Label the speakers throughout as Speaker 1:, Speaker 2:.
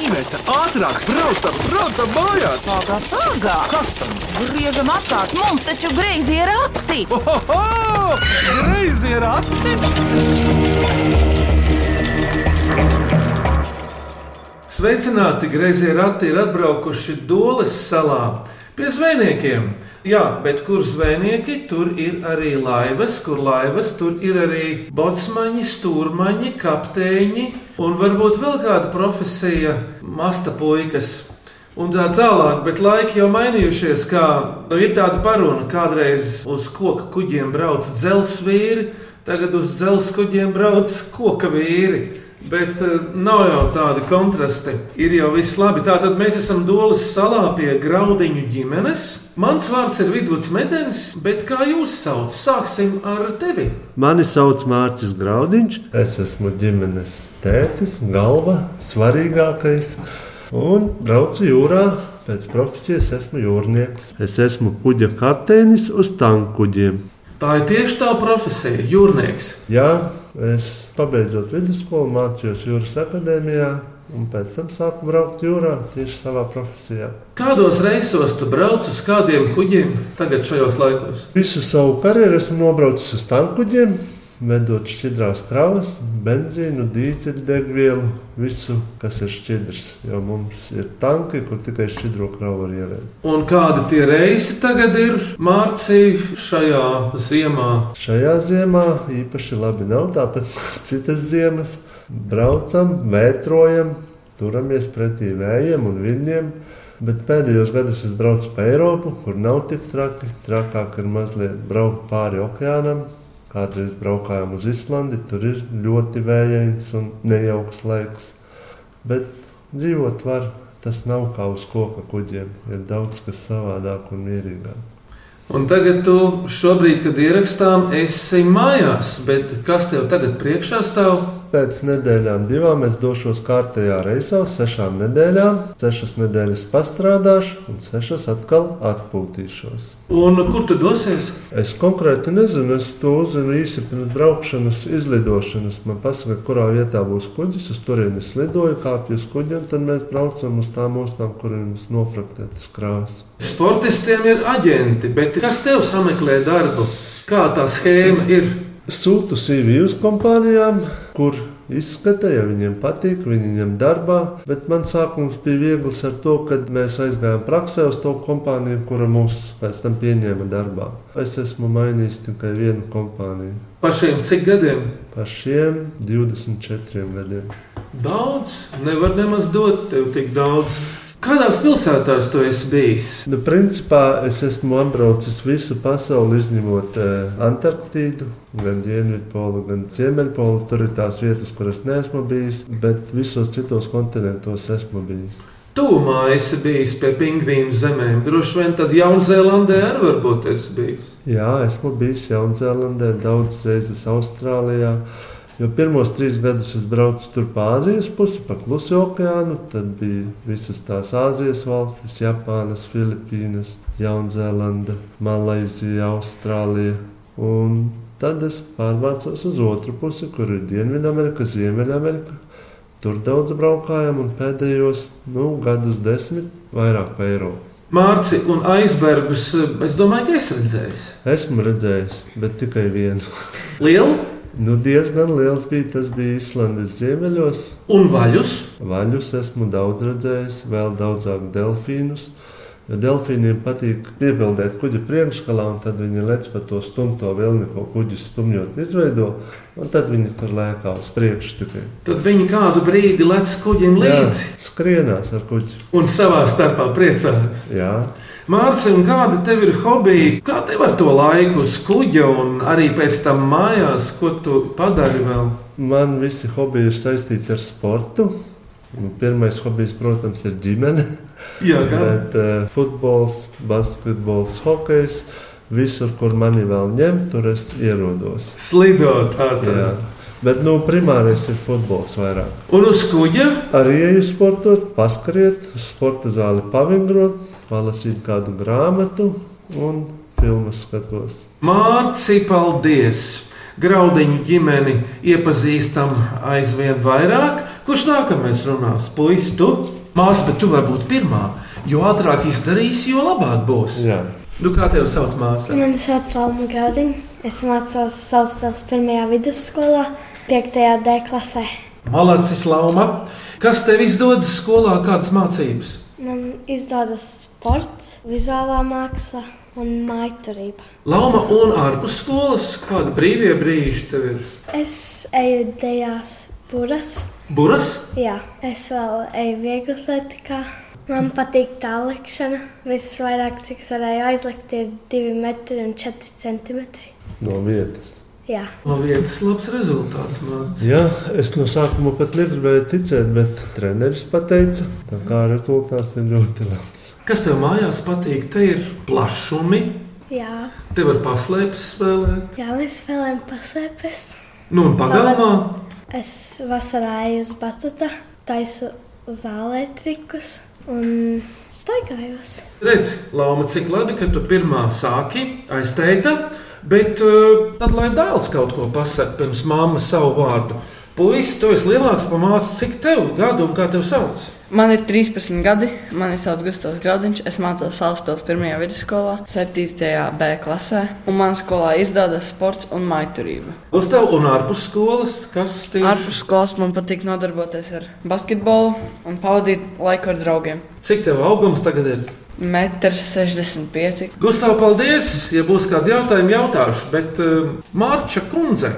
Speaker 1: Iveta, ātrāk, braucam, braucam mājās!
Speaker 2: Pagā, pagā!
Speaker 1: Kas tam?
Speaker 2: Griežam apkārt, mums taču greizi ir rati!
Speaker 1: Oho! Greizi ir ati!
Speaker 3: Sveicināti, grazīgi rati ir atbraukuši Dolas salā pie zvejniekiem. Jā, bet kur zvejnieki, tur ir arī laivas, kur laivas, tur ir arī botsmaņi, stūrmaņi, kapteiņi un varbūt vēl kāda profesija - masta puikas. Un tā tālāk, bet laiki jau mainījušies. Kā, nu, ir tāda paruna, kādreiz uz koka kuģiem brauc dzelzceļvīri, tagad uz dzelzceļkuģiem brauc koka vīri. Bet eh, nav jau tādi kontrasti. Ir jau viss labi. Tātad mēs esam Dolas salā pie graudiņu ģimenes. Mans vārds ir Vidus Medens, bet kā jūs saucat? Sāksim ar tevi.
Speaker 4: Mani sauc Mārcis Graudiņš, es esmu ģimenes tētis, galva, svarīgākais. Un braucu jūrā, pēc profesijas esmu jūrnieks. Es esmu kuģa kapteinis uz tankuģiem.
Speaker 3: Tā ir tieši tā profesija, jūrnieks.
Speaker 4: Jā, es pabeidzot vidusskolu, mācījos jūras akadēmijā. Un pēc tam sāku braukt jūrā tieši savā profesijā.
Speaker 3: Kādos reisos tu brauc uz kādiem kuģiem tagad šajos laikos?
Speaker 4: Visu savu karjeru esmu nobraucis uz tankuģiem, vedot šķidrās kravas, benzīnu, dīzeļdegvielu, visu, kas ir šķidrs. Jo mums ir tanki, kur tikai šķidro kravu var ielikt.
Speaker 3: Un kādi tie reisi tagad ir Mārcī šajā ziemā?
Speaker 4: Šajā ziemā īpaši labi nav, tāpat kā citas ziemas. Braucam, vētrojam, turamies pretī vējiem un viļņiem. Bet pēdējos gados es braucu pa Eiropu, kur nav tik traki. Trakāk ir mazliet braukt pāri okeānam. Kādreiz braukājām uz Islandi, tur ir ļoti vējains un nejauks laiks. Bet dzīvot var, tas nav kā uz koka kuģiem. Ir daudz kas savādāk un mierīgāk.
Speaker 3: Un tagad tu šobrīd, kad ierakstām, esi mājās, bet kas tev tagad priekšā stāv?
Speaker 4: Pēc nedēļām, divām es došos kārtējā reisā, uz sešām nedēļām. Sešas nedēļas pastrādāšu, un sešas atkal atpūtīšos.
Speaker 3: Un kur tu dosies?
Speaker 4: Es konkrēti nezinu, es to uzzinu īsi pirms braukšanas, izlidošanas. Man pasaka, kurā vietā būs kuģis, uz turienes lidoju, kāpju uz kuģi, un tad mēs braucam uz tām ostām, kuriem ir nofraktētas krāsas.
Speaker 3: Sportistiem ir aģenti, bet kas tev sameklē darbu? Kā tā schēma ir?
Speaker 4: sūtu CV uz kompānijām, kur izskata, ja viņiem patīk, viņi ņem darbā. Bet man sākums bija viegls ar to, ka mēs aizgājām praksē uz to kompāniju, kura mūs pēc tam pieņēma darbā. Es esmu mainījis tikai vienu kompāniju.
Speaker 3: Pašiem cik gadiem?
Speaker 4: Par šiem 24 gadiem.
Speaker 3: Daudz, nevar nemaz dot tev tik daudz. Kādās pilsētās tu esi bijis?
Speaker 4: Nu, principā es esmu apbraucis visu pasauli, izņemot eh, Antarktīdu, gan Dienvidpolu, gan Ziemeļpolu. Tur ir tās vietas, kuras neesmu bijis, bet visos citos kontinentos esmu bijis.
Speaker 3: Tūmā esi bijis pie pingvīnu zemēm. Droši vien tad Jaunzēlandē arī varbūt esi bijis.
Speaker 4: Jā, esmu bijis Jaunzēlandē, daudzas reizes Austrālijā. Jo pirmos trīs gadus es braucu tur pa Āzijas pusi, pa Klusu okeānu. Tad bija visas tās Āzijas valstis, Japānas, Filipīnas, Jaunzēlanda, Malaisija, Austrālija. Un tad es pārvācos uz otru pusi, kur ir Dienvidamerika, Ziemeļamerika. Tur daudz braukājām un pēdējos nu, gadus desmit vairāk pa Eiropu.
Speaker 3: Mārci un aizbergus, es domāju, ka esi redzējis.
Speaker 4: Esmu redzējis, bet tikai vienu.
Speaker 3: Lielu
Speaker 4: Nu, diezgan liels bija tas bija Īslandes ziemeļos.
Speaker 3: un vaļus.
Speaker 4: Vaļus esmu daudz redzējis, vēl daudzāk delfīnus. Jo delfīniem patīk piebildēt kuģa priekšgalā, un tad viņi lec pa to stumto vilni, ko kuģis stumjot izveido, un tad viņi tur lēkā uz priekšu tikai.
Speaker 3: Tad viņi kādu brīdi lec kuģim līdzi
Speaker 4: Jā, skrienās ar kuģi.
Speaker 3: un savā starpā priecājās.
Speaker 4: Jā.
Speaker 3: Mārcis, kāda tev ir hobija? Kā tev ar to laiku uz kuģa un arī pēc tam mājās, ko tu padari vēl?
Speaker 4: Man visi hobi ir saistīti ar sportu. Nu, Pirmais hobijs, protams, ir ģimene.
Speaker 3: Jā, gan.
Speaker 4: Bet uh, futbols, basketbols, hokejs, visur, kur mani vēl ņem, tur es ierodos.
Speaker 3: Slidot, tā tad.
Speaker 4: Jā. Bet nu, primārais ir futbols vairāk.
Speaker 3: Un uz kuģa?
Speaker 4: Arī eju sportot, paskriet, uz sporta zāli pavingrot, palasīt kādu grāmatu un filmu skatos.
Speaker 3: Mārci, paldies! graudiņu ģimeni iepazīstam aizvien vairāk. Kurš nākamais runās? Puisis, tu? Māsa, bet tu vari būt pirmā. Jo ātrāk izdarīsi, jo labāk būs.
Speaker 4: Jā.
Speaker 3: Nu, kā tevi sauc māsa?
Speaker 5: Mani sauc Lapa Graudiņa. Es mācos Salaspils pirmajā vidusskolā, 5. D klasē.
Speaker 3: Malacis Lauma. Kas tev izdodas skolā, kādas mācības?
Speaker 5: Man izdodas sports, vizuālā māksla un maiturība.
Speaker 3: Lauma un ārpus skolas, kāda brīvie brīži tev ir?
Speaker 5: Es eju dejās buras,
Speaker 3: Buras,
Speaker 5: jā, es vēl eju vieglatlētikā. Man patīk tā likšana. Visvairāk, cik es varēju aizlikt, ir 2,4 cm.
Speaker 4: No vietas.
Speaker 5: Jā,
Speaker 3: no vietas labs rezultāts mācīt.
Speaker 4: Jā, es no sākuma pat negribēju ticēt, bet treneris pateica, tā kā rezultāts ir ļoti labs.
Speaker 3: Kas tev mājās patīk? Te ir plašumi,
Speaker 5: jā.
Speaker 3: te var paslēpties spēlēt.
Speaker 5: jā mēs spēlējam paslēpes.
Speaker 3: Nu, un pagalmā
Speaker 5: Es vasarā eju uz Batuta, taisu zālē trikus un staigājos.
Speaker 3: redz, Lauma, cik labi, ka tu pirmā sāki aizteita, bet eh, tad, lai dēls kaut ko pasakā pirms mammas savu vārdu. Puisi, tu esi lielāks par māsu, cik tev gadu un kā tev sauc?
Speaker 6: Man ir 13 gadi, man ir sauc Gustavs Graudiņš, es mācos Salaspils pirmajā vidusskolā, 7. B klasē, un man skolā izdodas sports un maiturība.
Speaker 3: Uz tev un ārpus skolas, kas tieši
Speaker 6: Ārpus skolas man patīk nodarboties ar basketbolu un pavadīt laiku ar draugiem.
Speaker 3: Cik tev augums tagad ir?
Speaker 6: 1,65 m.
Speaker 3: Gustav, paldies! Ja būs kādi jautājumi, jautāšu. Bet uh, Mārča kundze,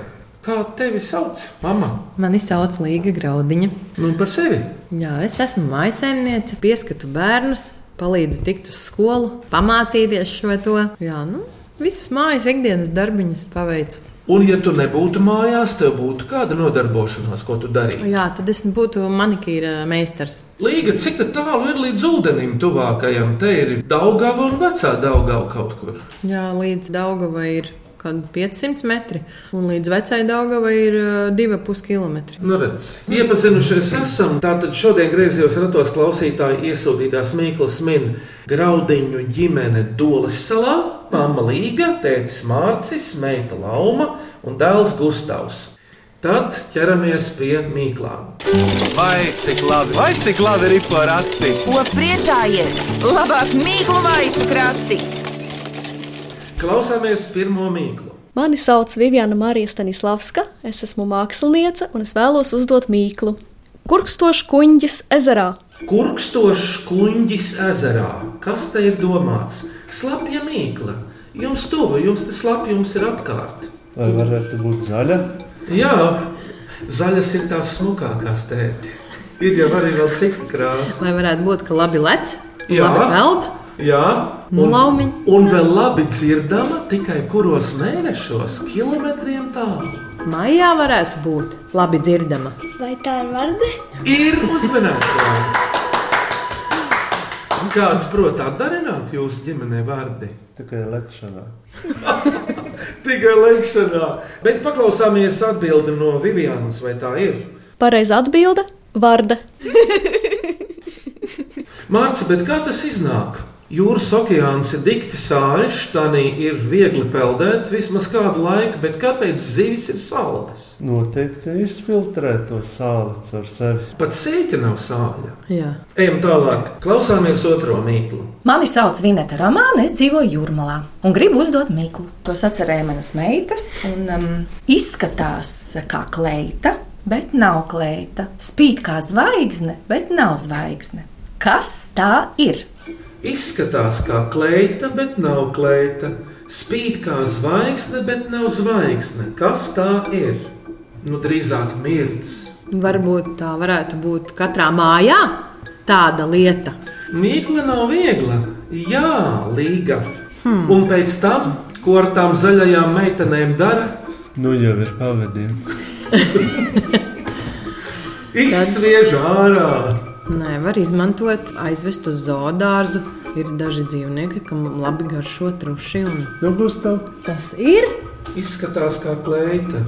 Speaker 3: kā tevi sauc? Mama,
Speaker 7: Mani sauc Līga Graudiņa.
Speaker 3: nu par sevi.
Speaker 7: Jā, es esmu maisaimniece, pieskatu bērnus, palīdzu tikt uz skolu, pamācīties šo vai to. Jā, nu, visus mājas ikdienas darbiņus paveicu.
Speaker 3: Un, ja tu nebūtu mājās, tev būtu kāda nodarbošanās, ko tu darīji.
Speaker 7: Jā, tad es būtu manikīra meistars.
Speaker 3: Līga, cik tā tālu ir līdz ūdenim tuvākajam? Te ir Daugava un vecā Daugava kaut kur.
Speaker 7: Jā, līdz Daugavai ir kaut kādi 500 metri, un līdz vecai Daugavai ir ā, 2,5 km.
Speaker 3: Nu, redz, Iepazinušies esam. Tātad šodien griezījos ratos klausītāji iesūtītās Mīklas min graudiņu ģimene Dolas salā, mamma Līga, tētis Mārcis, meita Lauma un dēls Gustavs. Tad ķeramies pie mīklām.
Speaker 1: Vai cik labi, vai cik labi ir pa rati?
Speaker 2: Ko priecājies? Labāk mīklu maisu krati!
Speaker 3: Klausāmies pirmo mīklu.
Speaker 8: Mani sauc Viviana Marija Stanislavska, es esmu māksliniece un es vēlos uzdot mīklu. Kurkstošs kuņģis ezerā.
Speaker 3: Kurkstošs kuņģis ezerā. Kas te ir domāts? Slapja mīkla. Jums tuvu, jums tas slapjums ir apkārt.
Speaker 4: Vai varētu būt zaļa?
Speaker 3: Jā, zaļas ir tās smukākās tēti. Ir jau arī vēl cita krāsa.
Speaker 7: Lai varētu būt, ka labi lec,
Speaker 3: Jā.
Speaker 7: labi peld.
Speaker 3: Jā,
Speaker 7: Nu, laumiņ.
Speaker 3: un vēl labi dzirdama tikai kuros mēnešos, kilometriem tālu.
Speaker 7: Maijā varētu būt labi dzirdama.
Speaker 5: Vai tā ir varde?
Speaker 3: Ir uzmanība! Kāds prot atdarināt jūsu ģimenē vārdi?
Speaker 4: Tikai lekšanā.
Speaker 3: Tikai lēkšanā. Bet paklausāmies atbildi no Vivianas, vai tā ir?
Speaker 8: Pareiza atbilde - varda.
Speaker 3: Mārcis, bet kā tas iznāk? Jūras okeāns ir dikti sāļš, tā nī ir viegli peldēt vismaz kādu laiku, bet kāpēc zivis ir sāļas?
Speaker 4: Noteikti izfiltrē to sāli caur sevi.
Speaker 3: Pat sēķa nav sāļa.
Speaker 7: Jā.
Speaker 3: Ejam tālāk, klausāmies otro mīklu.
Speaker 9: Mani sauc Vineta Romāna, es dzīvoju Jūrmalā un gribu uzdot mīklu. To sacerēja manas meitas un um, izskatās kā kleita, bet nav kleita. Spīd kā zvaigzne, bet nav zvaigzne. Kas tā ir?
Speaker 3: Izskatās kā kleita, bet nav kleita. Spīd kā zvaigzne, bet nav zvaigzne. Kas tā ir? Nu, drīzāk mirdzes.
Speaker 7: Varbūt tā varētu būt katrā mājā tāda lieta.
Speaker 3: Mīkla nav viegla. Jā, līga. Hmm. Un pēc tam, ko ar tām zaļajām meitenēm dara,
Speaker 4: Nu jau ir pavadījums.
Speaker 3: izsviež ārā.
Speaker 7: Nē, var izmantot, aizvest uz zoodārzu. Ir daži dzīvnieki, kam labi garšo truši. Un...
Speaker 4: Nu, būs tā.
Speaker 7: Tas ir
Speaker 3: Izskatās kā kleita.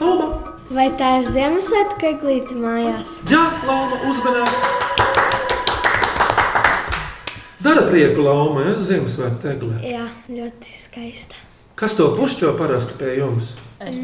Speaker 3: Laba!
Speaker 5: Vai tā ir Ziemassvētku eglīte mājās?
Speaker 3: Jā, laba, uzmanības! Dara prieku lauma, ja Ziemassvētku eglē.
Speaker 5: Jā, ļoti skaista.
Speaker 3: Kas to pušķo parasti pie jums?
Speaker 6: Es.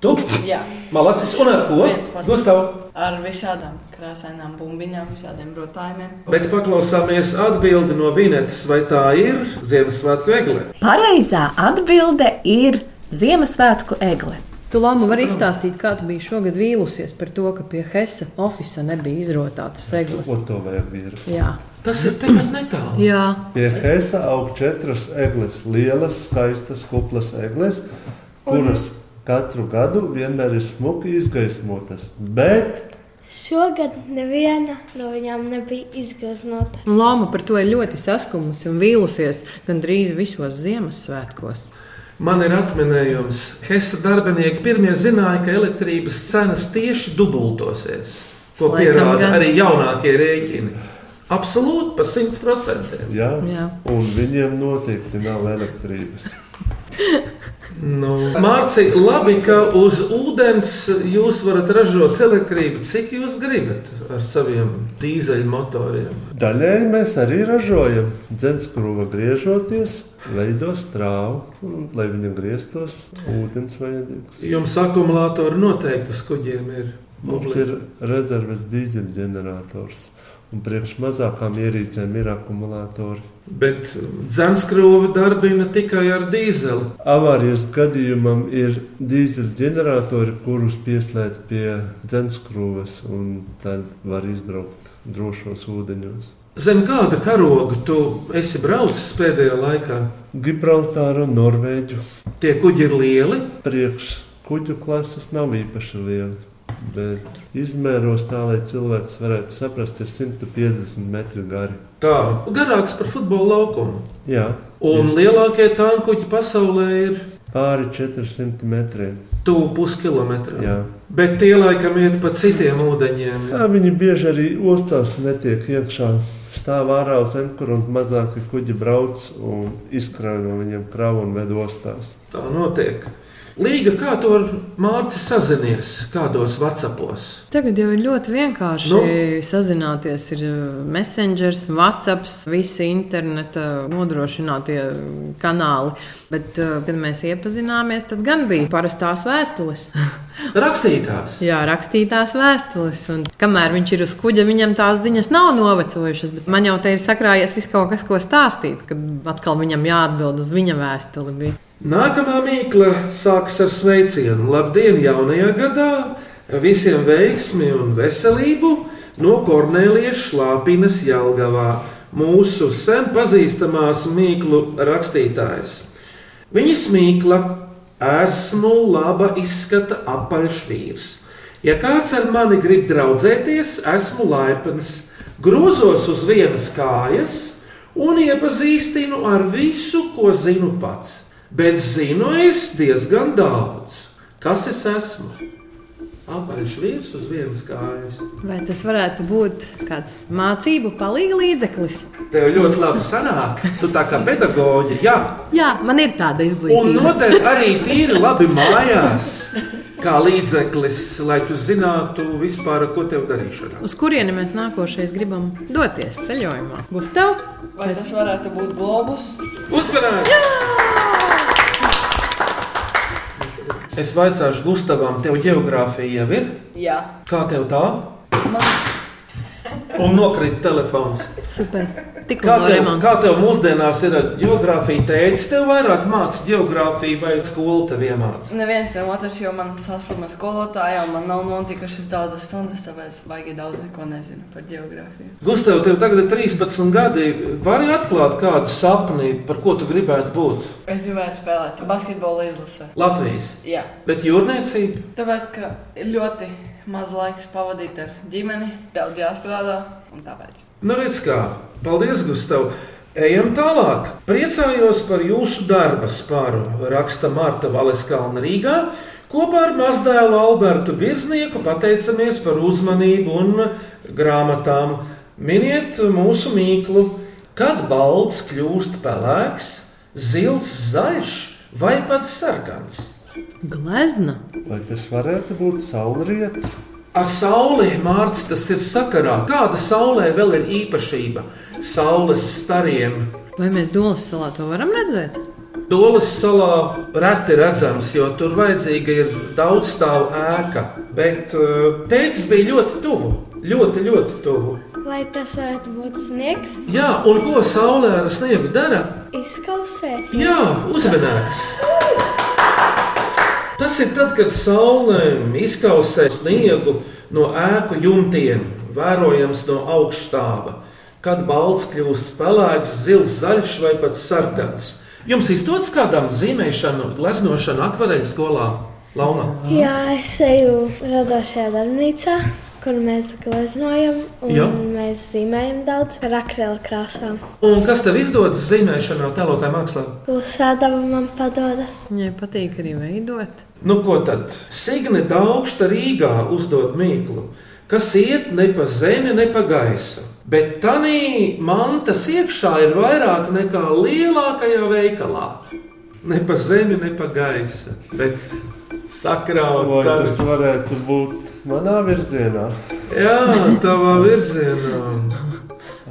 Speaker 3: Tu
Speaker 6: Jā,
Speaker 3: malacis un ar ko?
Speaker 6: Viens pats.
Speaker 3: Gustav.
Speaker 6: ar visādām krāsainām bumbiņām, visādiem rotājumiem.
Speaker 3: Bet paklausāmies atbildi no Vinetas, vai tā ir Ziemassvētku egle.
Speaker 9: Pareizā atbilde ir Ziemassvētku egle.
Speaker 7: Tu labi vari izstāstīt, kā tu biji šogad vīlusies par to, ka pie Hesa oficiāla nebija izrotāta seglas.
Speaker 4: Ko to vajag dirbt?
Speaker 7: Jā,
Speaker 3: Tas ir tepat netālu.
Speaker 7: jā.
Speaker 4: Pie Hesa aug četras eglis, lielas, skaistas, kuplas eglis, kuras katru gadu vienmēr ir smuki izgaismotas. Bet
Speaker 5: Šogad neviena no viņām nebija izgraznota.
Speaker 7: Un Lama par to ir ļoti saskumusi un vīlusies gandrīz visos Ziemassvētkos.
Speaker 3: Man ir atminējums, ka Hesa darbinieki pirmie zināja, ka elektrības cenas tieši dubultosies, ko
Speaker 7: Laikam
Speaker 3: pierāda
Speaker 7: gan.
Speaker 3: arī jaunākie rēķini. Absolūti par 100%.
Speaker 4: jā,
Speaker 7: Jā.
Speaker 4: un viņiem noteikti nav elektrības.
Speaker 3: Nu, Mārci, labi, ka uz ūdens jūs varat ražot elektrību, cik jūs gribat ar saviem dīzeļmotoriem.
Speaker 4: Daļēji mēs arī ražojam dzinskruva griežoties, veido strāvu, un, lai viņa grieztos, ūdens vajadzīgs.
Speaker 3: Jums akumulātori noteikti uz kuģiem ir.
Speaker 4: Mums ir rezerves dīzeļģenerators, un priekš mazākām ierīcēm ir akumulātori.
Speaker 3: Bet dzenskrūve darbina tikai ar dīzeli.
Speaker 4: Avārijas gadījumam ir dīzeļģeneratori, kurus pieslēdz pie dzinskruves, un tad var izbraukt drošos ūdeņos.
Speaker 3: Zem kāda karoga tu esi braucis pēdējā laikā?
Speaker 4: Gibraltāra un Norvēģu
Speaker 3: Tie kuģi ir lieli.
Speaker 4: priekš kuģu klases nav īpaši liela. Bet izmēros tā, lai cilvēks varētu saprast, ir 150 metri gari.
Speaker 3: Tā garāks par futbola laukumu.
Speaker 4: Jā,
Speaker 3: Un lielākie tankuģi pasaulē ir
Speaker 4: pāri 400 metriem.
Speaker 3: tuvu puskilometram.
Speaker 4: Jā.
Speaker 3: Bet tie laikam iet pa citiem ūdeņiem.
Speaker 4: Jā, viņi bieži arī ostās netiek iekšā. Stāv ārā uz enkura un mazāki kuģi brauc un izkrāj no viņiem kravu un ved ostās.
Speaker 3: Tā notiek. Līga, kā to māci sazināties, kādos vecapos?
Speaker 7: Tagad jau ir ļoti vienkārši nu.
Speaker 3: Nu.
Speaker 7: sazināties. Ir uh, Messenger, WhatsApp, visi interneta nodrošinātie kanāli. Bet, uh, kad mēs iepazināmies, tad gan bija parastās vēstules.
Speaker 3: Rakstītās.
Speaker 7: Jā, rakstītās vēstules. Un kamēr viņš ir uz kuģa, viņam tās ziņas nav novecojušas. bet Man jau te ir sakrājies viss kaut kas, ko stāstīt. Kad atkal viņam jāatbild uz viņa vēstuli. Bija.
Speaker 3: Nākamā mīkla sākas ar sveicienu. Labdien, jaunajā gadā! Visiem veiksmi un veselību no Kornelijas Šlāpinas Jelgavā, mūsu sen pazīstamās mīklu rakstītājas. Viņa smīkla esmu laba izskata apaļšvīrs. Ja kāds ar mani grib draudzēties, esmu laipns, grozos uz vienas kājas un iepazīstinu ar visu, ko zinu pats. Bet zinu es diezgan daudz. Kas es esmu? Apaļšvīrs uz vienas kājas.
Speaker 7: Vai tas varētu būt kāds mācību palīga līdzeklis?
Speaker 3: Tev ļoti labi sanāk, tu tā kā pedagoģi. Jā.
Speaker 7: Jā, man ir tāda
Speaker 3: Un
Speaker 7: izglītība.
Speaker 3: noteikti arī tīri labi mājās, kā līdzeklis, lai tu zinātu vispār, ko tev darīšanā.
Speaker 7: Uz kurieni mēs nākošais gribam doties ceļojumā? Būs tev?
Speaker 6: Vai tas varētu būt globus?
Speaker 3: Uzmanības! Es vaicāšu Gustavam, tev geogrāfija jau ir?
Speaker 6: Jā,
Speaker 3: Kā tev tā?
Speaker 6: man
Speaker 3: Un nokrita telefons.
Speaker 7: Super. Tikko
Speaker 3: Kā
Speaker 7: no
Speaker 3: tev,
Speaker 7: remonta.
Speaker 3: kā tev mūsdienās ir ar geogrāfiju tēcis? Tev vairāk mācīts geogrāfiju vai skola tev iemācīja?
Speaker 6: neviens ne otrs, jo man saslima skolotāja, un man nav notikušas daudzas stundas, tāpēc baigi daudz neko nezinu par geogrāfiju.
Speaker 3: Gustav, tev tagad ir 13 gadi. Vari atklāt kādu sapni, par ko tu gribētu būt?
Speaker 6: Es gribēju spēlēt basketbolu izlasē.
Speaker 3: Latvijas.
Speaker 6: Jā,
Speaker 3: Bet jūrniecība,
Speaker 6: tāpēc, ka ir ļoti maz laiks pavadīt ar ģimeni, daudz jāstrādā, un tāpēc.
Speaker 3: nu redz kā, paldies, Gustav. Ejam tālāk. Priecājos par jūsu darba spāru, raksta Marta Valeskalna Rīgā. Kopā ar mazdēlu Albertu Birznieku pateicamies par uzmanību un grāmatām. Miniet mūsu mīklu, kad balts kļūst pelēks, zils, zaļš vai pat sarkans.
Speaker 7: Glezna.
Speaker 4: Vai tas varētu būt saulrietis?
Speaker 3: Ar sauli mārcis tas ir sakarā. Kāda saulē vēl ir īpašība? Saules stariem.
Speaker 7: Vai mēs Dolas salā to varam redzēt?
Speaker 3: Dolas salā reti redzams, jo tur vajadzīga ir daudz stāvu ēka. Bet eh, teicis bija ļoti tuvu. Ļoti, ļoti tuvu.
Speaker 5: Vai tas varētu būt sniegs?
Speaker 3: Jā, un ko saulē ar sniegu dara?
Speaker 5: Izkausē.
Speaker 3: Jā, uzmanīgs. Tas ir tad, kad saule izkausē sniegu no ēku jumtiem, vērojams no augstāba, kad balts kļūst pelēks, zils, zaļš vai pat sarkans. Jums izdodas kādam zīmēšanu, gleznošanu akvareļu skolā, Launa?
Speaker 5: Jā, es eju radošajā darbnīcā, kur mēs gleznojam un
Speaker 3: Jā.
Speaker 5: mēs zīmējam daudz ar akrēla krāsām.
Speaker 3: Un kas tev izdodas zīmēšanā, tēlotāju mākslā?
Speaker 5: Uzsādama man padodas.
Speaker 7: Viņai patīk arī veidot.
Speaker 3: Nu, ko tad? Signe Daugšta Rīgā uzdod mīklu, kas iet ne pa zemi, ne pa gaisu. Bet tanī mantas iekšā ir vairāk nekā lielākajā veikalā. Ne pa zemi, ne pa gaisa. Bet
Speaker 4: Vai
Speaker 3: sakrauta.
Speaker 4: tas varētu būt manā virzienā?
Speaker 3: Jā, tavā virzienā.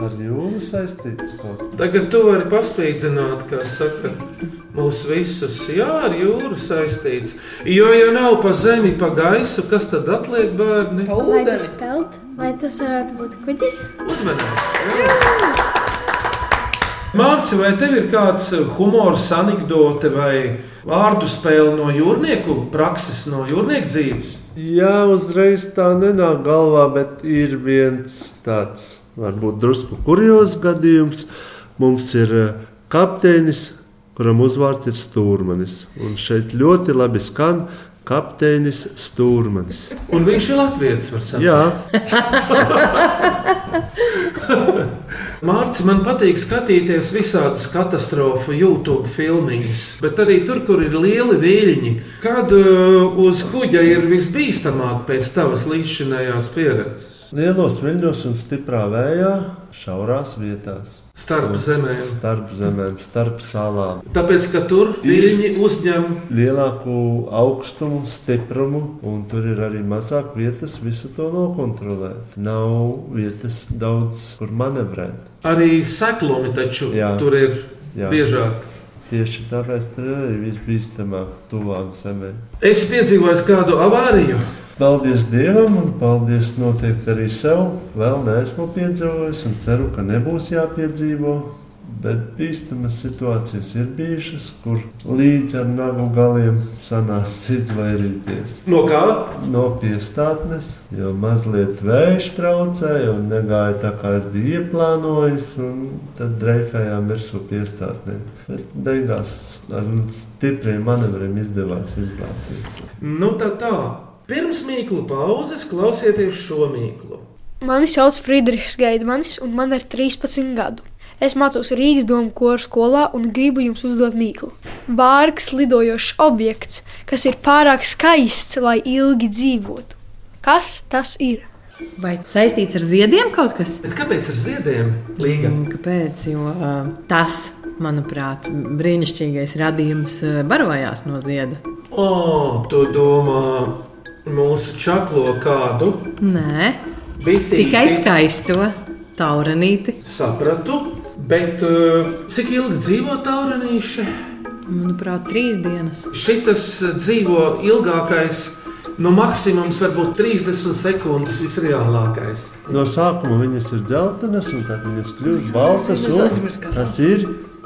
Speaker 4: Ar jums saistīts kaut kas.
Speaker 3: Tagad tu vari paspīdzināt, kā saka, mūs visus. Jā, ar jūru saistīts. Jo, ja nav pa zemi, pa gaisu, kas tad atliek bērni?
Speaker 5: Vai tas peld? Vai tas varētu būt kuģis?
Speaker 3: Uzmanības! Mārcis, vai tev ir kāds eh, humors, anekdote vai vārdu spēle no jūrnieku prakses, no jūrnieku dzīves?
Speaker 4: Jā, uzreiz tā nenāk galvā, bet ir viens tāds varbūt drusku kurjos gadījums. Mums ir eh, kapteinis, kuram uzvārds ir Stūrmanis. Un šeit ļoti labi skan kapteinis Stūrmanis.
Speaker 3: Un viņš ir Latvijas monēta.
Speaker 4: Jā,
Speaker 3: Mārcis, man patīk skatīties visādas katastrofu YouTube filmiņas, bet arī tur, kur ir lieli viļņi, kad uh, uz kuģa ir visbīstamāk pēc tavas līdzšinējās pieredzes
Speaker 4: lielos viļņos un stiprā vējā, šaurās vietās.
Speaker 3: starp zemēm.
Speaker 4: Starp zemēm, starp salām.
Speaker 3: Tāpēc, ka tur viļņi uzņem
Speaker 4: Lielāku augstumu, stiprumu, un tur ir arī mazāk vietas visu to nokontrolēt. Nav vietas daudz, kur manevrēt.
Speaker 3: Arī seklumi taču
Speaker 4: Jā.
Speaker 3: tur ir
Speaker 4: Jā.
Speaker 3: biežāk.
Speaker 4: Tieši tāpēc tur ir arī visbīstamāk, tuvāk zemē.
Speaker 3: Es piedzīvoju kādu avāriju.
Speaker 4: Paldies Dievam, un paldies noteikti arī sev. Vēl neesmu piedzīvojis, un ceru, ka nebūs jāpiedzīvo. Bet bīstamas situācijas ir bijušas, kur līdz ar nagu galiem sanāca izvairīties.
Speaker 3: No kā?
Speaker 4: no piestātnes, jo mazliet vējš traucēja un negāja tā, kā es biju ieplānojis. un Tad dreifējām virsū piestātnē. Bet beigās ar stipriem manevriem izdevās izglābties.
Speaker 3: Nu tā tā. Pirms mīklu pauzes klausieties šo mīklu.
Speaker 8: Mani sauc Friedrichs Gaidmanis, un man ir 13 gadu. Es mācos Rīgas domu koru skolā un gribu jums uzdot mīklu. Vārgs lidojošs objekts, kas ir pārāk skaists, lai ilgi dzīvotu. Kas tas ir?
Speaker 7: Vai saistīts ar ziediem kaut kas?
Speaker 3: Bet kāpēc ar ziediem? Līga.
Speaker 7: Un Kāpēc? Jo ā, tas, manuprāt, brīnišķīgais radījums ā, barojās no zieda.
Speaker 3: O, tu domā mūsu čaklo kādu?
Speaker 7: Nē,
Speaker 3: Bitīti.
Speaker 7: tikai skaisto, taurenīti.
Speaker 3: Sapratu. Bet uh, cik ilgi dzīvo taurenīši?
Speaker 7: Manuprāt, trīs dienas.
Speaker 3: Šitas dzīvo ilgākais, nu maksimums varbūt 30 sekundes visreālākais.
Speaker 4: No sākuma viņas ir dzeltenas, un tad viņas kļūst baltas.
Speaker 6: Es
Speaker 4: un
Speaker 6: aizmirsu, kas
Speaker 4: Tas ir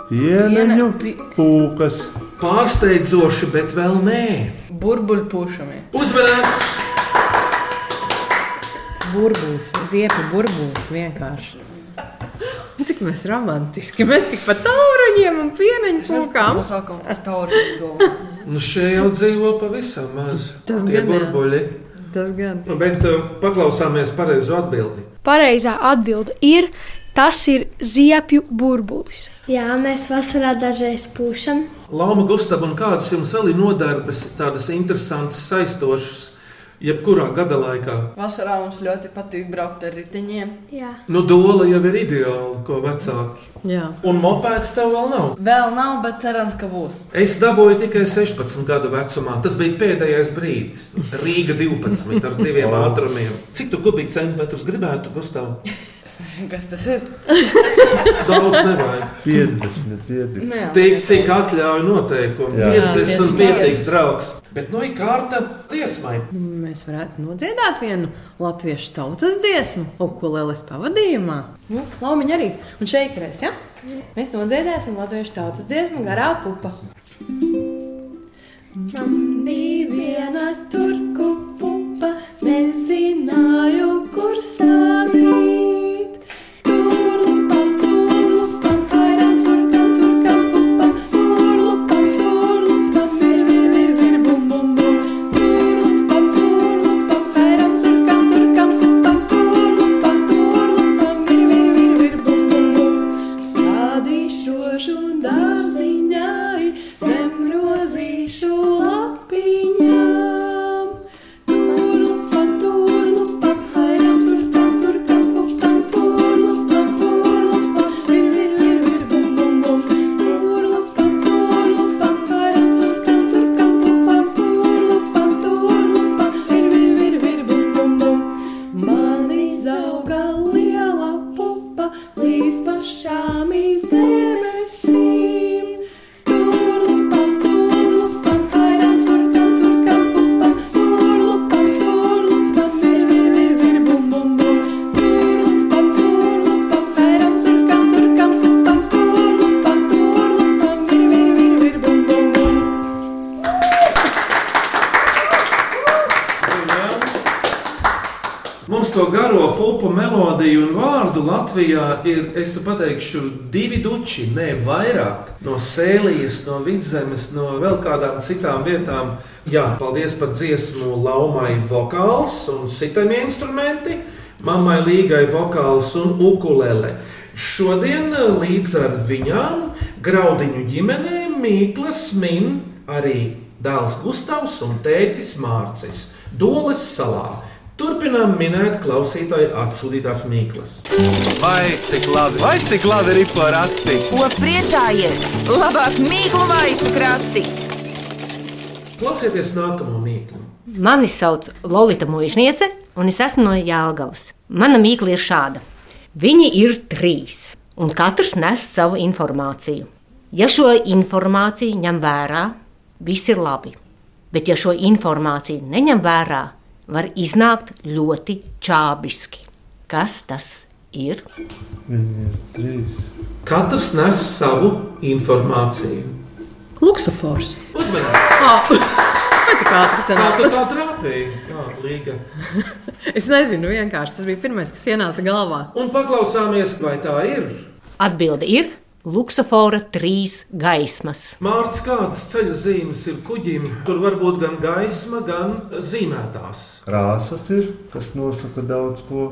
Speaker 4: pieneņu
Speaker 6: Piene- pi-
Speaker 4: pūkas.
Speaker 3: Pārsteidzoši, bet vēl nē.
Speaker 6: Burbuļpūšamie.
Speaker 3: Uzmanīgs!
Speaker 7: Burbuļs, ziepa burbuļs vienkārši. Cik mēs romantiski. Mēs tik pa tauruņiem un pieneņu pūkām.
Speaker 6: Mums sākām ar tauru domu.
Speaker 3: Nu, šie jau dzīvo pavisam maz.
Speaker 7: Tas
Speaker 3: Tie
Speaker 7: gan jā.
Speaker 3: burbuļi.
Speaker 7: Tas gan.
Speaker 3: Nu, Bet uh, paklausāmies pareizo atbildi.
Speaker 8: Pareizā atbilde ir: tas ir ziepju burbulis.
Speaker 5: Jā, mēs vasarā dažreiz pūšam.
Speaker 3: Lama Gustav, un kādas jums vēl ir nodarbes, tādas interesantas, saistošas, jebkurā gada laikā?
Speaker 6: Vasarā mums ļoti patīk braukt ar riteņiem.
Speaker 5: Jā.
Speaker 3: Nu, dola jau ir ideāla, ko vecāki.
Speaker 7: Jā.
Speaker 3: Un mopēds tev vēl nav.
Speaker 6: Vēl nav, bet cerams, ka būs.
Speaker 3: Es dabūju tikai 16 gadu vecumā. Tas bija pēdējais brīdis. Rīga 12 ar diviem ātrumiem. Cik tu kubikcentimetrus gribētu, Gustav?
Speaker 6: Es nezinu, kas tas ir.
Speaker 3: Daudz nevajag.
Speaker 4: 50, 50.
Speaker 3: Tik, cik atļauj noteikumi.
Speaker 4: Jā.
Speaker 3: Viens esmu
Speaker 6: Jā, piecdesmit
Speaker 3: pieteikts draugs. Bet nu ir kārta dziesmai.
Speaker 7: Mēs varētu nodziedāt vienu latviešu tautas dziesmu, ukulēles pavadījumā. Nu, Laumiņa arī. Un šeit krēs, ja? Mēs nodziedāsim latviešu tautas dziesmu garā pupa. Man bija viena turku pupa, nezināju, kur stāvīt. Turlupam, turlupam, vairām surkam, surkam pupam. Turlupam, turlupam, zir, vir, vir, zir, bum, bum, bum. Turlupam, turlupam, vairām surkam, surkam pupam. Turlupam, turlupam, zir, vir, vir, vir, bum, bum, bum. Stādīšošu dārziņai, zem grozīšu lapiņām. Turlupam, turlupam, vairām surkam, surkam pupam. Turlupam, turlupam, vir, vir, vir, vir, bum, bum, bum. Turlupam, turlupam, vairām surkam, surkam pupam. Turlupam, turlupam, vir, vir, vir, vir, bum, bum, bum. Man izauga liela pupa līdz pašām debesīm. Turlupam, turlupam, vairām surkam, surkam pupam. Turlupam, turlupam, zir, vir, vir, zir, bum, bum, bum. Turlupam, turlupam, vairām surkam, surkam pupam. Turlupam, turlupam, zir, vir, vir, vir, bum, bum, bum.
Speaker 3: Mums to garo pupu melodiju un vārdu Latvijā ir, es te pateikšu, divi duči, ne vairāk. No sēlijas, no vidzemes, no vēl kādām citām vietām. Jā, paldies par dziesmu Laumai vokāls un citiem instrumenti, mammai līgai vokāls un ukulele. Šodien eh, līdz ar viņām graudiņu ģimenē Mīklas min arī dēls Gustavs un tētis Mārcis Doles salā. Turpinām minēt klausītāju atsūtītās mīklas.
Speaker 1: Vai cik labi, vai cik labi ir porati?
Speaker 2: Ko priecājies? Labāk mīklu maisu krati!
Speaker 3: Klausieties nākamo mīklu.
Speaker 10: Mani sauc Lorita Mūžniece, un es esmu no Jālgavas. Mana mīkla ir šāda. Viņi ir trīs, un katrs nes savu informāciju. Ja šo informāciju ņem vērā, viss ir labi. Bet, ja šo informāciju neņem vērā, var iznākt ļoti čābiski. Kas tas ir?
Speaker 4: Viņi ir trīs.
Speaker 3: Katrs nes savu informāciju.
Speaker 7: Luksofors.
Speaker 3: Uzmanības!
Speaker 7: Pēc kā
Speaker 3: Kā
Speaker 7: atrasināt?
Speaker 3: tu tā trāpīji? Jā, līga.
Speaker 7: Es nezinu, vienkārši tas bija pirmais, kas ienāca galvā.
Speaker 3: Un paklausāmies, vai tā ir.
Speaker 10: Atbilde ir Luksafora trīs gaismas.
Speaker 3: Mārcis, kādas ceļa zīmes ir kuģim? Tur var būt gan gaisma, gan eh, zīmētās.
Speaker 4: Krāsas ir, kas nosaka daudz ko,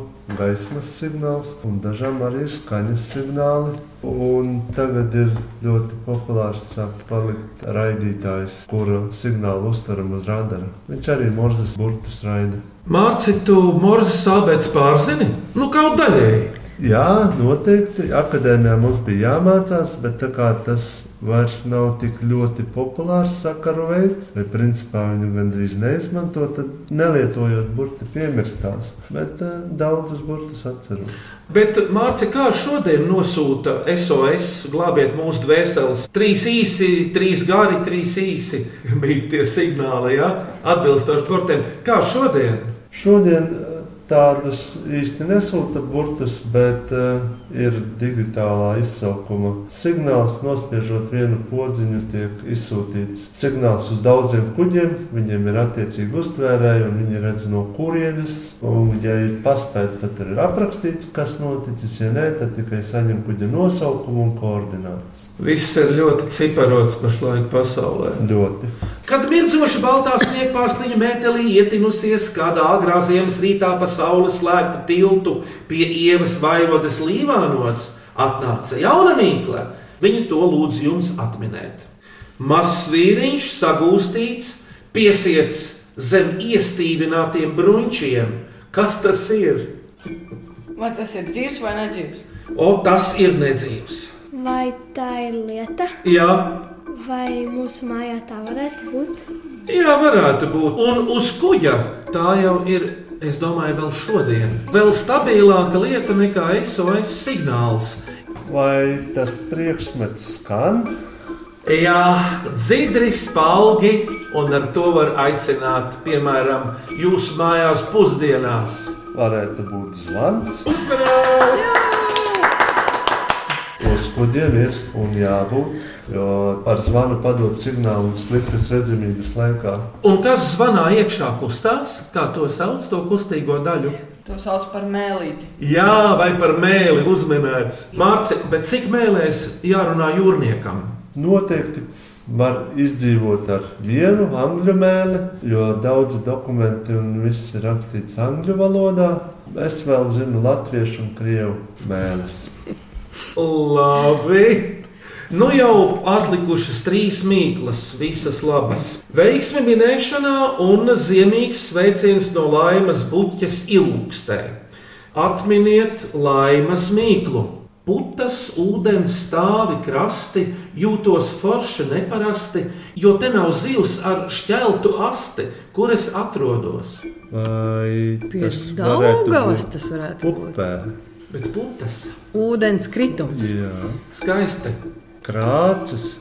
Speaker 4: gaismas signāls, un dažām arī ir skaņas signāli. Un tagad ir ļoti populārs sākt palikt raidītājs, kura signālu uztveram uz radara. Viņš arī morzes burtus raida.
Speaker 3: Mārcis, tu Morzes abēdz pārzini? Nu, kaut daļēji.
Speaker 4: Jā, noteikti. Akadēmijā mums bija jāmācās, bet tā kā tas vairs nav tik ļoti populārs sakaru veids, vai principā viņu gandrīz neizmanto, tad nelietojot burti piemirstās. Bet eh, daudzus burtus atceros.
Speaker 3: Bet, Mārci, kā šodien nosūta SOS, glābiet mūsu dvēseles? Trīs īsi, trīs gari, trīs īsi bija tie signāli, ja? atbilstoši portiem. Kā šodien?
Speaker 4: Šodien eh, tādus īsti nesūta burtus, bet uh, ir digitālā izsaukuma signāls. Nospiežot vienu podziņu, tiek izsūtīts signāls uz daudziem kuģiem. Viņiem ir attiecīgi uztvērēji, un viņi redz no kurienes. Un, ja ir paspēts, tad tur ir aprakstīts, kas noticis. Ja nē, tad tikai saņem kuģa nosaukumu un koordinātas.
Speaker 3: Viss ir ļoti ciparots pašlaik pasaulē.
Speaker 4: Ļoti.
Speaker 3: Kad mirdzoša baltā sniegpārsliņa metelī ietinusies kādā agrā ziemas rītā pa saules slēgtu tiltu pie ievas vaivodas līvānos, atnāca jauna mīkla. Viņa to lūdz jums atminēt. Mazs vīriņš sagūstīts, piesiets zem iestīvinātiem brunčiem. Kas tas ir?
Speaker 6: Vai tas ir dzīves vai nedzīves?
Speaker 3: O, tas ir nedzīvs.
Speaker 5: Vai tā ir lieta,
Speaker 3: Jā,
Speaker 5: vai mūsu mājā tā varētu būt?
Speaker 3: Jā, varētu būt. Un uz kuģa tā jau ir. Es domāju, vēl šodien. Vēl stabilāka lieta nekā SOS signāls.
Speaker 4: Vai tas priekšmets skan?
Speaker 3: Jā, dzidri, spalgi, un ar to var aicināt, piemēram, jūsu mājās pusdienās.
Speaker 4: Varētu būt zvans.
Speaker 3: Uzmanīgi!
Speaker 4: Uz kuģiem ir un jābūt. Jo ar zvanu padod signālu un sliktas redzamības laikā.
Speaker 3: Un kas zvanā iekšā kustās, kā to sauc, to kustīgo daļu?
Speaker 6: To sauc par mēlīti.
Speaker 3: Jā, vai par mēli uzmanēts. Mārcis, bet cik mēlēs jārunā jūrniekam?
Speaker 4: Noteikti var izdzīvot ar vienu angļu mēli, jo daudzi dokumenti un viss ir rakstīts angļu valodā. Es vēl zinu latviešu un krievu mēlis.
Speaker 3: Labi. Nu jau atlikušas trīs mīklas, visas labas. Veiksmi minēšanā un ziemīgs sveiciens no laimas buķes ilūkstē. Atminiet laimas mīklu. Putas, ūdens stāvi, krasti, jūtos forši neparasti, jo te nav zivs ar šķeltu asti, kur es atrodos.
Speaker 4: Vai tas
Speaker 7: Pie
Speaker 4: varētu
Speaker 7: Daugavas
Speaker 4: būt
Speaker 7: tas varētu būt.
Speaker 4: upē?
Speaker 3: Bet putas,
Speaker 7: Ūdens kritums.
Speaker 4: Jā,
Speaker 3: skaisti,
Speaker 4: krācis.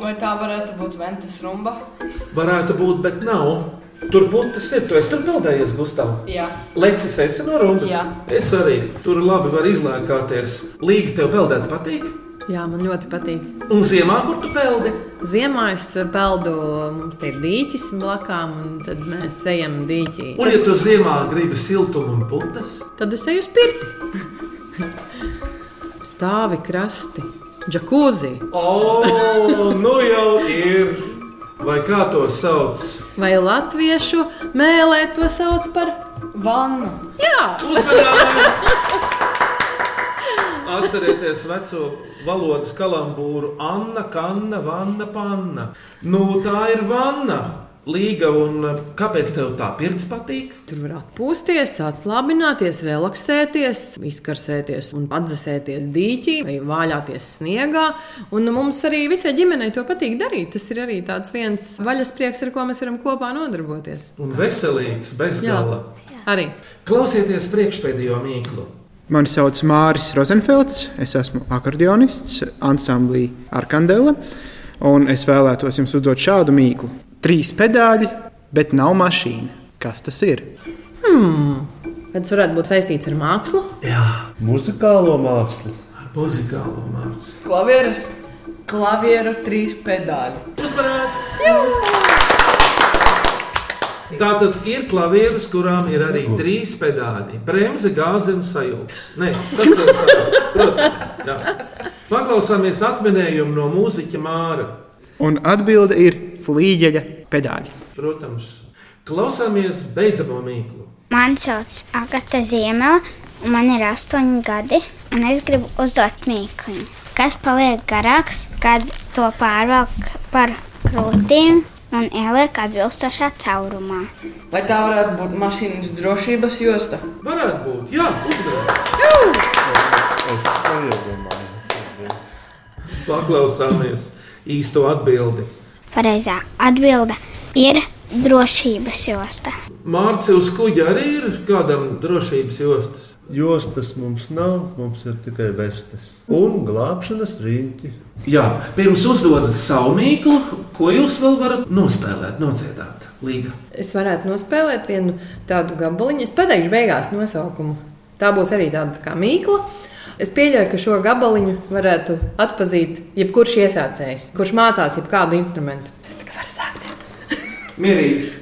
Speaker 6: Vai tā varētu būt Ventas rumba?
Speaker 3: varētu būt, bet nav. Tur putas ir, tu esi tur peldējies, Gustav.
Speaker 6: Jā.
Speaker 3: Lecis, esi no Runkas?
Speaker 6: Jā.
Speaker 3: Es arī tur labi varu izlēkāties. Līga tev peldēt patīk.
Speaker 7: Jā, man ļoti patīk.
Speaker 3: Un ziemā, kur tu peldi?
Speaker 7: Ziemā es peldu, mums te ir dīķis blakām, un tad mēs ejam dīķī.
Speaker 3: Un, ja tu ziemā gribi siltumu un putas,
Speaker 7: Tad es eju uz pirti. Stāvi krasti, džakūzi
Speaker 3: oh, nu jau ir. Vai kā to sauc?
Speaker 7: vai latviešu mēlē to sauc par
Speaker 6: Vanna.
Speaker 3: Uzmanības! Atcerieties veco valodas kalambūru Anna, Kanna, Vanna, Panna. Nu, tā ir vanna. Līga, un uh, kāpēc tev tā pirts patīk?
Speaker 7: Tur var atpūsties, atslābināties, relaksēties, izkarsēties un atdzesēties dīķī vai vāļāties sniegā. Un mums arī visai ģimenei to patīk darīt. Tas ir arī tāds viens vaļas prieks, ar ko mēs varam kopā nodarboties.
Speaker 3: Un veselīgs, bez
Speaker 7: Jā.
Speaker 3: gala.
Speaker 7: Arī
Speaker 3: Klausieties priekšpēdējo mīklu.
Speaker 1: Mani sauc Māris Rozenfelds, es esmu akordeonists ansamblī Arkandela, un es vēlētos jums uzdot šādu mīklu. Trīs pedāļi, bet nav mašīna. Kas tas ir?
Speaker 7: tas varētu būt saistīts ar mākslu.
Speaker 3: Jā,
Speaker 4: Muzikālo mākslu.
Speaker 3: ar muzikālo mākslu.
Speaker 6: Klavieres. Klavieru trīs pedāļi.
Speaker 3: Uzmanīts! Tā tad ir klavieres, kurām ir arī trīs pedāļi. Bremze, gāze un sajūgs. Nē, tas ir sajūgs. Protams, jā. Paklausāmies atminējumu no mūziķa Māra.
Speaker 1: Un atbilde ir flīģeļa pedāļi.
Speaker 3: Protams, klausāmies beidzamo mīklu.
Speaker 8: Man sauc Agata Ziemela, un man ir astoņi gadi, un es gribu uzdot mīklu. Kas paliek garāks, kad to pārvelk par krūtīm un ieliek atbilstošā caurumā?
Speaker 6: Vai tā varētu būt mašīnas drošības josta?
Speaker 3: Varētu būt, jā, uzmanīgs.
Speaker 4: Es neiedomājos.
Speaker 3: Paklausāmies īsto atbildi.
Speaker 8: Pareizā atbilde ir drošības josta.
Speaker 3: Mārcis uz kuģa arī ir kādam drošības jostas.
Speaker 4: Jostas mums nav, mums ir tikai vestes un glābšanas rīņķi.
Speaker 3: Jā, pirms uzdodat savu mīklu, ko jūs vēl varat nospēlēt, nociedāt līga.
Speaker 7: Es varētu nospēlēt vienu tādu gabaliņu. Es pateikšu, beigās nosaukumu. Tā būs arī tāda kā mīkla. Es pieļauju, ka šo gabaliņu varētu atpazīt jebkurš iesācējs, kurš mācās jebkādu instrumentu. Tas tā kā var sākt.
Speaker 3: Mierīgi.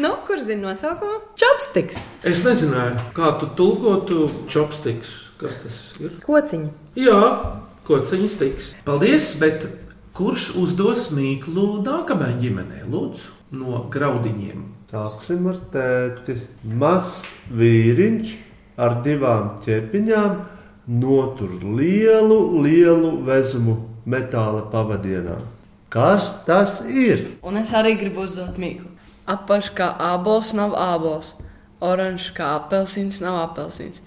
Speaker 11: Nu, kur zina nosaukumu? Chopsticks.
Speaker 3: Es nezināju, kā tu tulkotu chopsticks. Kas tas ir?
Speaker 11: Kociņi.
Speaker 3: Jā, kociņas tiks. Paldies, bet kurš uzdos mīklu nākamajai ģimenei? Lūdzu, no graudiņiem.
Speaker 4: Sāksim ar tēti. Mazs vīriņš ar divām ķepiņām notur lielu, lielu vezumu metāla pavadienā. Kas tas ir?
Speaker 6: Un es arī gribu uzdot mīklu. Apakš kā ābols nav ābols, oranžs kā apelsīns nav apelsīns.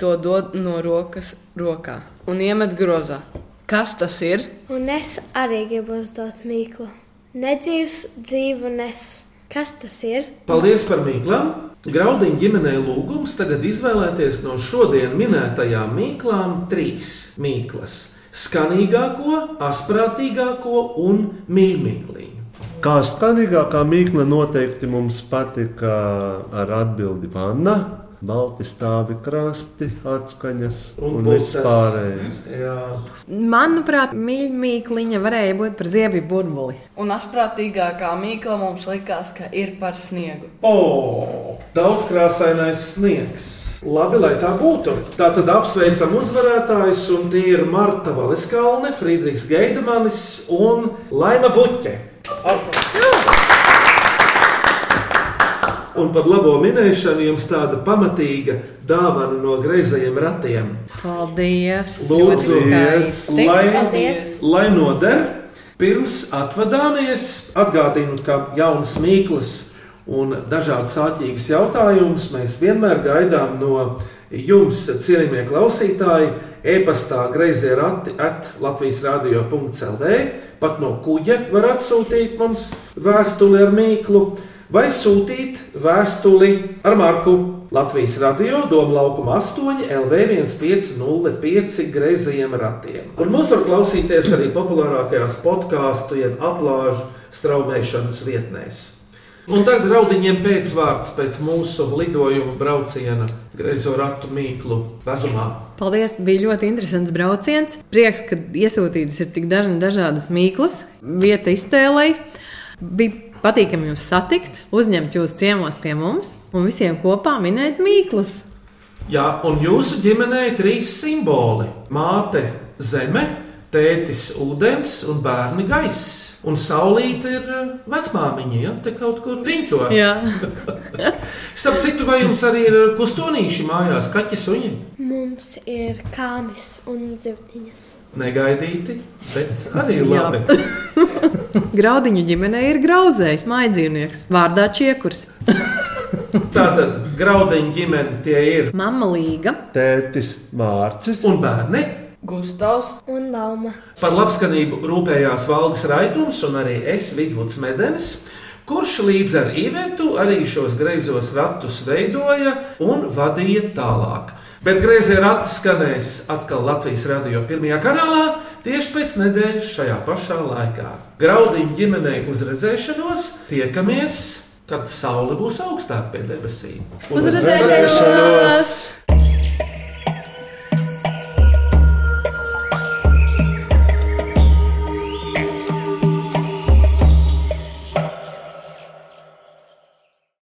Speaker 6: To dod no rokas rokā un iemet grozā. Kas tas ir?
Speaker 12: Un es arī gribu uzdot mīklu. Nedzīvs, dzīvu nes. Kas tas ir?
Speaker 3: Paldies par mīklām! Graudiņa ģimenei lūgums tagad izvēlēties no šodien minētajām mīklām trīs mīklas - skanīgāko, asprātīgāko un mīlīgāko.
Speaker 4: Kā skanīgākā mīkla noteikti mums patika ar atbildi Vanna. Balti stāvi krasti, atskaņas un, un viss
Speaker 3: pulkas.
Speaker 4: pārējais.
Speaker 11: Manuprāt, mīļākā varēja būt par ziepju burbuli.
Speaker 6: Un asprātīgākā mīkla mums likās, ka ir par sniegu.
Speaker 3: O, daudz krāsainais sniegs. Labi, lai tā būtu. Tā tad apsveicam uzvarētājus, un tie ir Marta Valiskalne, Friedrichs Geidemanis un Laima Buķe. Un par labo minēšanu jums tāda pamatīga dāvana no greizajiem ratiem.
Speaker 11: Paldies!
Speaker 3: Lūdzu,
Speaker 11: skaisti.
Speaker 3: lai, lai noder. Pirms atvadāmies, atgādinu, ka jaunas mīklas un dažādas ātrīgas jautājumus mēs vienmēr gaidām no jums, cienījamie klausītāji, e-pastā grazē rati at Latvijas radio.cl. Pat no kuģa var atsūtīt mums vēstuli ar mīklu vai sūtīt vēstuli ar marku Latvijas radio Doma laukuma 8 LV1505 greizajiem ratiem. Un mūs var klausīties arī populārākajās podkāstu, jeb aplāžu straumēšanas vietnēs. Un tagad raudiņiem pēcvārds pēc mūsu lidojuma brauciena greizo ratu mīklu vezumā.
Speaker 11: Paldies, bija ļoti interesants brauciens. Prieks, ka iesūtītas ir tik dažna, dažādas mīklas, vieta iztēlei. Bija patīkami jūs satikt, uzņemt jūs ciemos pie mums un visiem kopā minēt mīklas.
Speaker 3: Jā, un jūsu ģimenē ir trīs simboli - māte, zeme, tētis, ūdens un bērni gaisa. Un saulīte ir eh, vecmāmiņa, ja te kaut kur riņķo.
Speaker 11: Jā.
Speaker 3: Starp citu, vai jums arī ir kustonīši mājās, kaķis un viņa?
Speaker 12: Mums ir kāmis un dzirdiņas.
Speaker 3: Negaidīti, bet arī
Speaker 11: Jā.
Speaker 3: labi.
Speaker 11: Graudiņu ģimenē ir grauzējs, maidzīvnieks, vārdā čiekurs.
Speaker 3: Tātad graudiņa ģimene tie ir
Speaker 11: Mama līga,
Speaker 4: Tētis Mārcis
Speaker 3: un bērni.
Speaker 6: Gustavs
Speaker 12: un Lauma.
Speaker 3: Par labskanību rūpējās Valdis Raidums un arī es Vidvuds Medens. Kurš līdz ar īvetu arī šos greizos ratus veidoja un vadīja tālāk. Bet grazē rati skanēs atkal Latvijas radio pirmajā kanālā tieši pēc nedēļas šajā pašā laikā. Graudiņu ģimenei uz redzēšanos tiekamies, kad saule būs augstāk pie debesīm.
Speaker 7: Uz redzēšanos!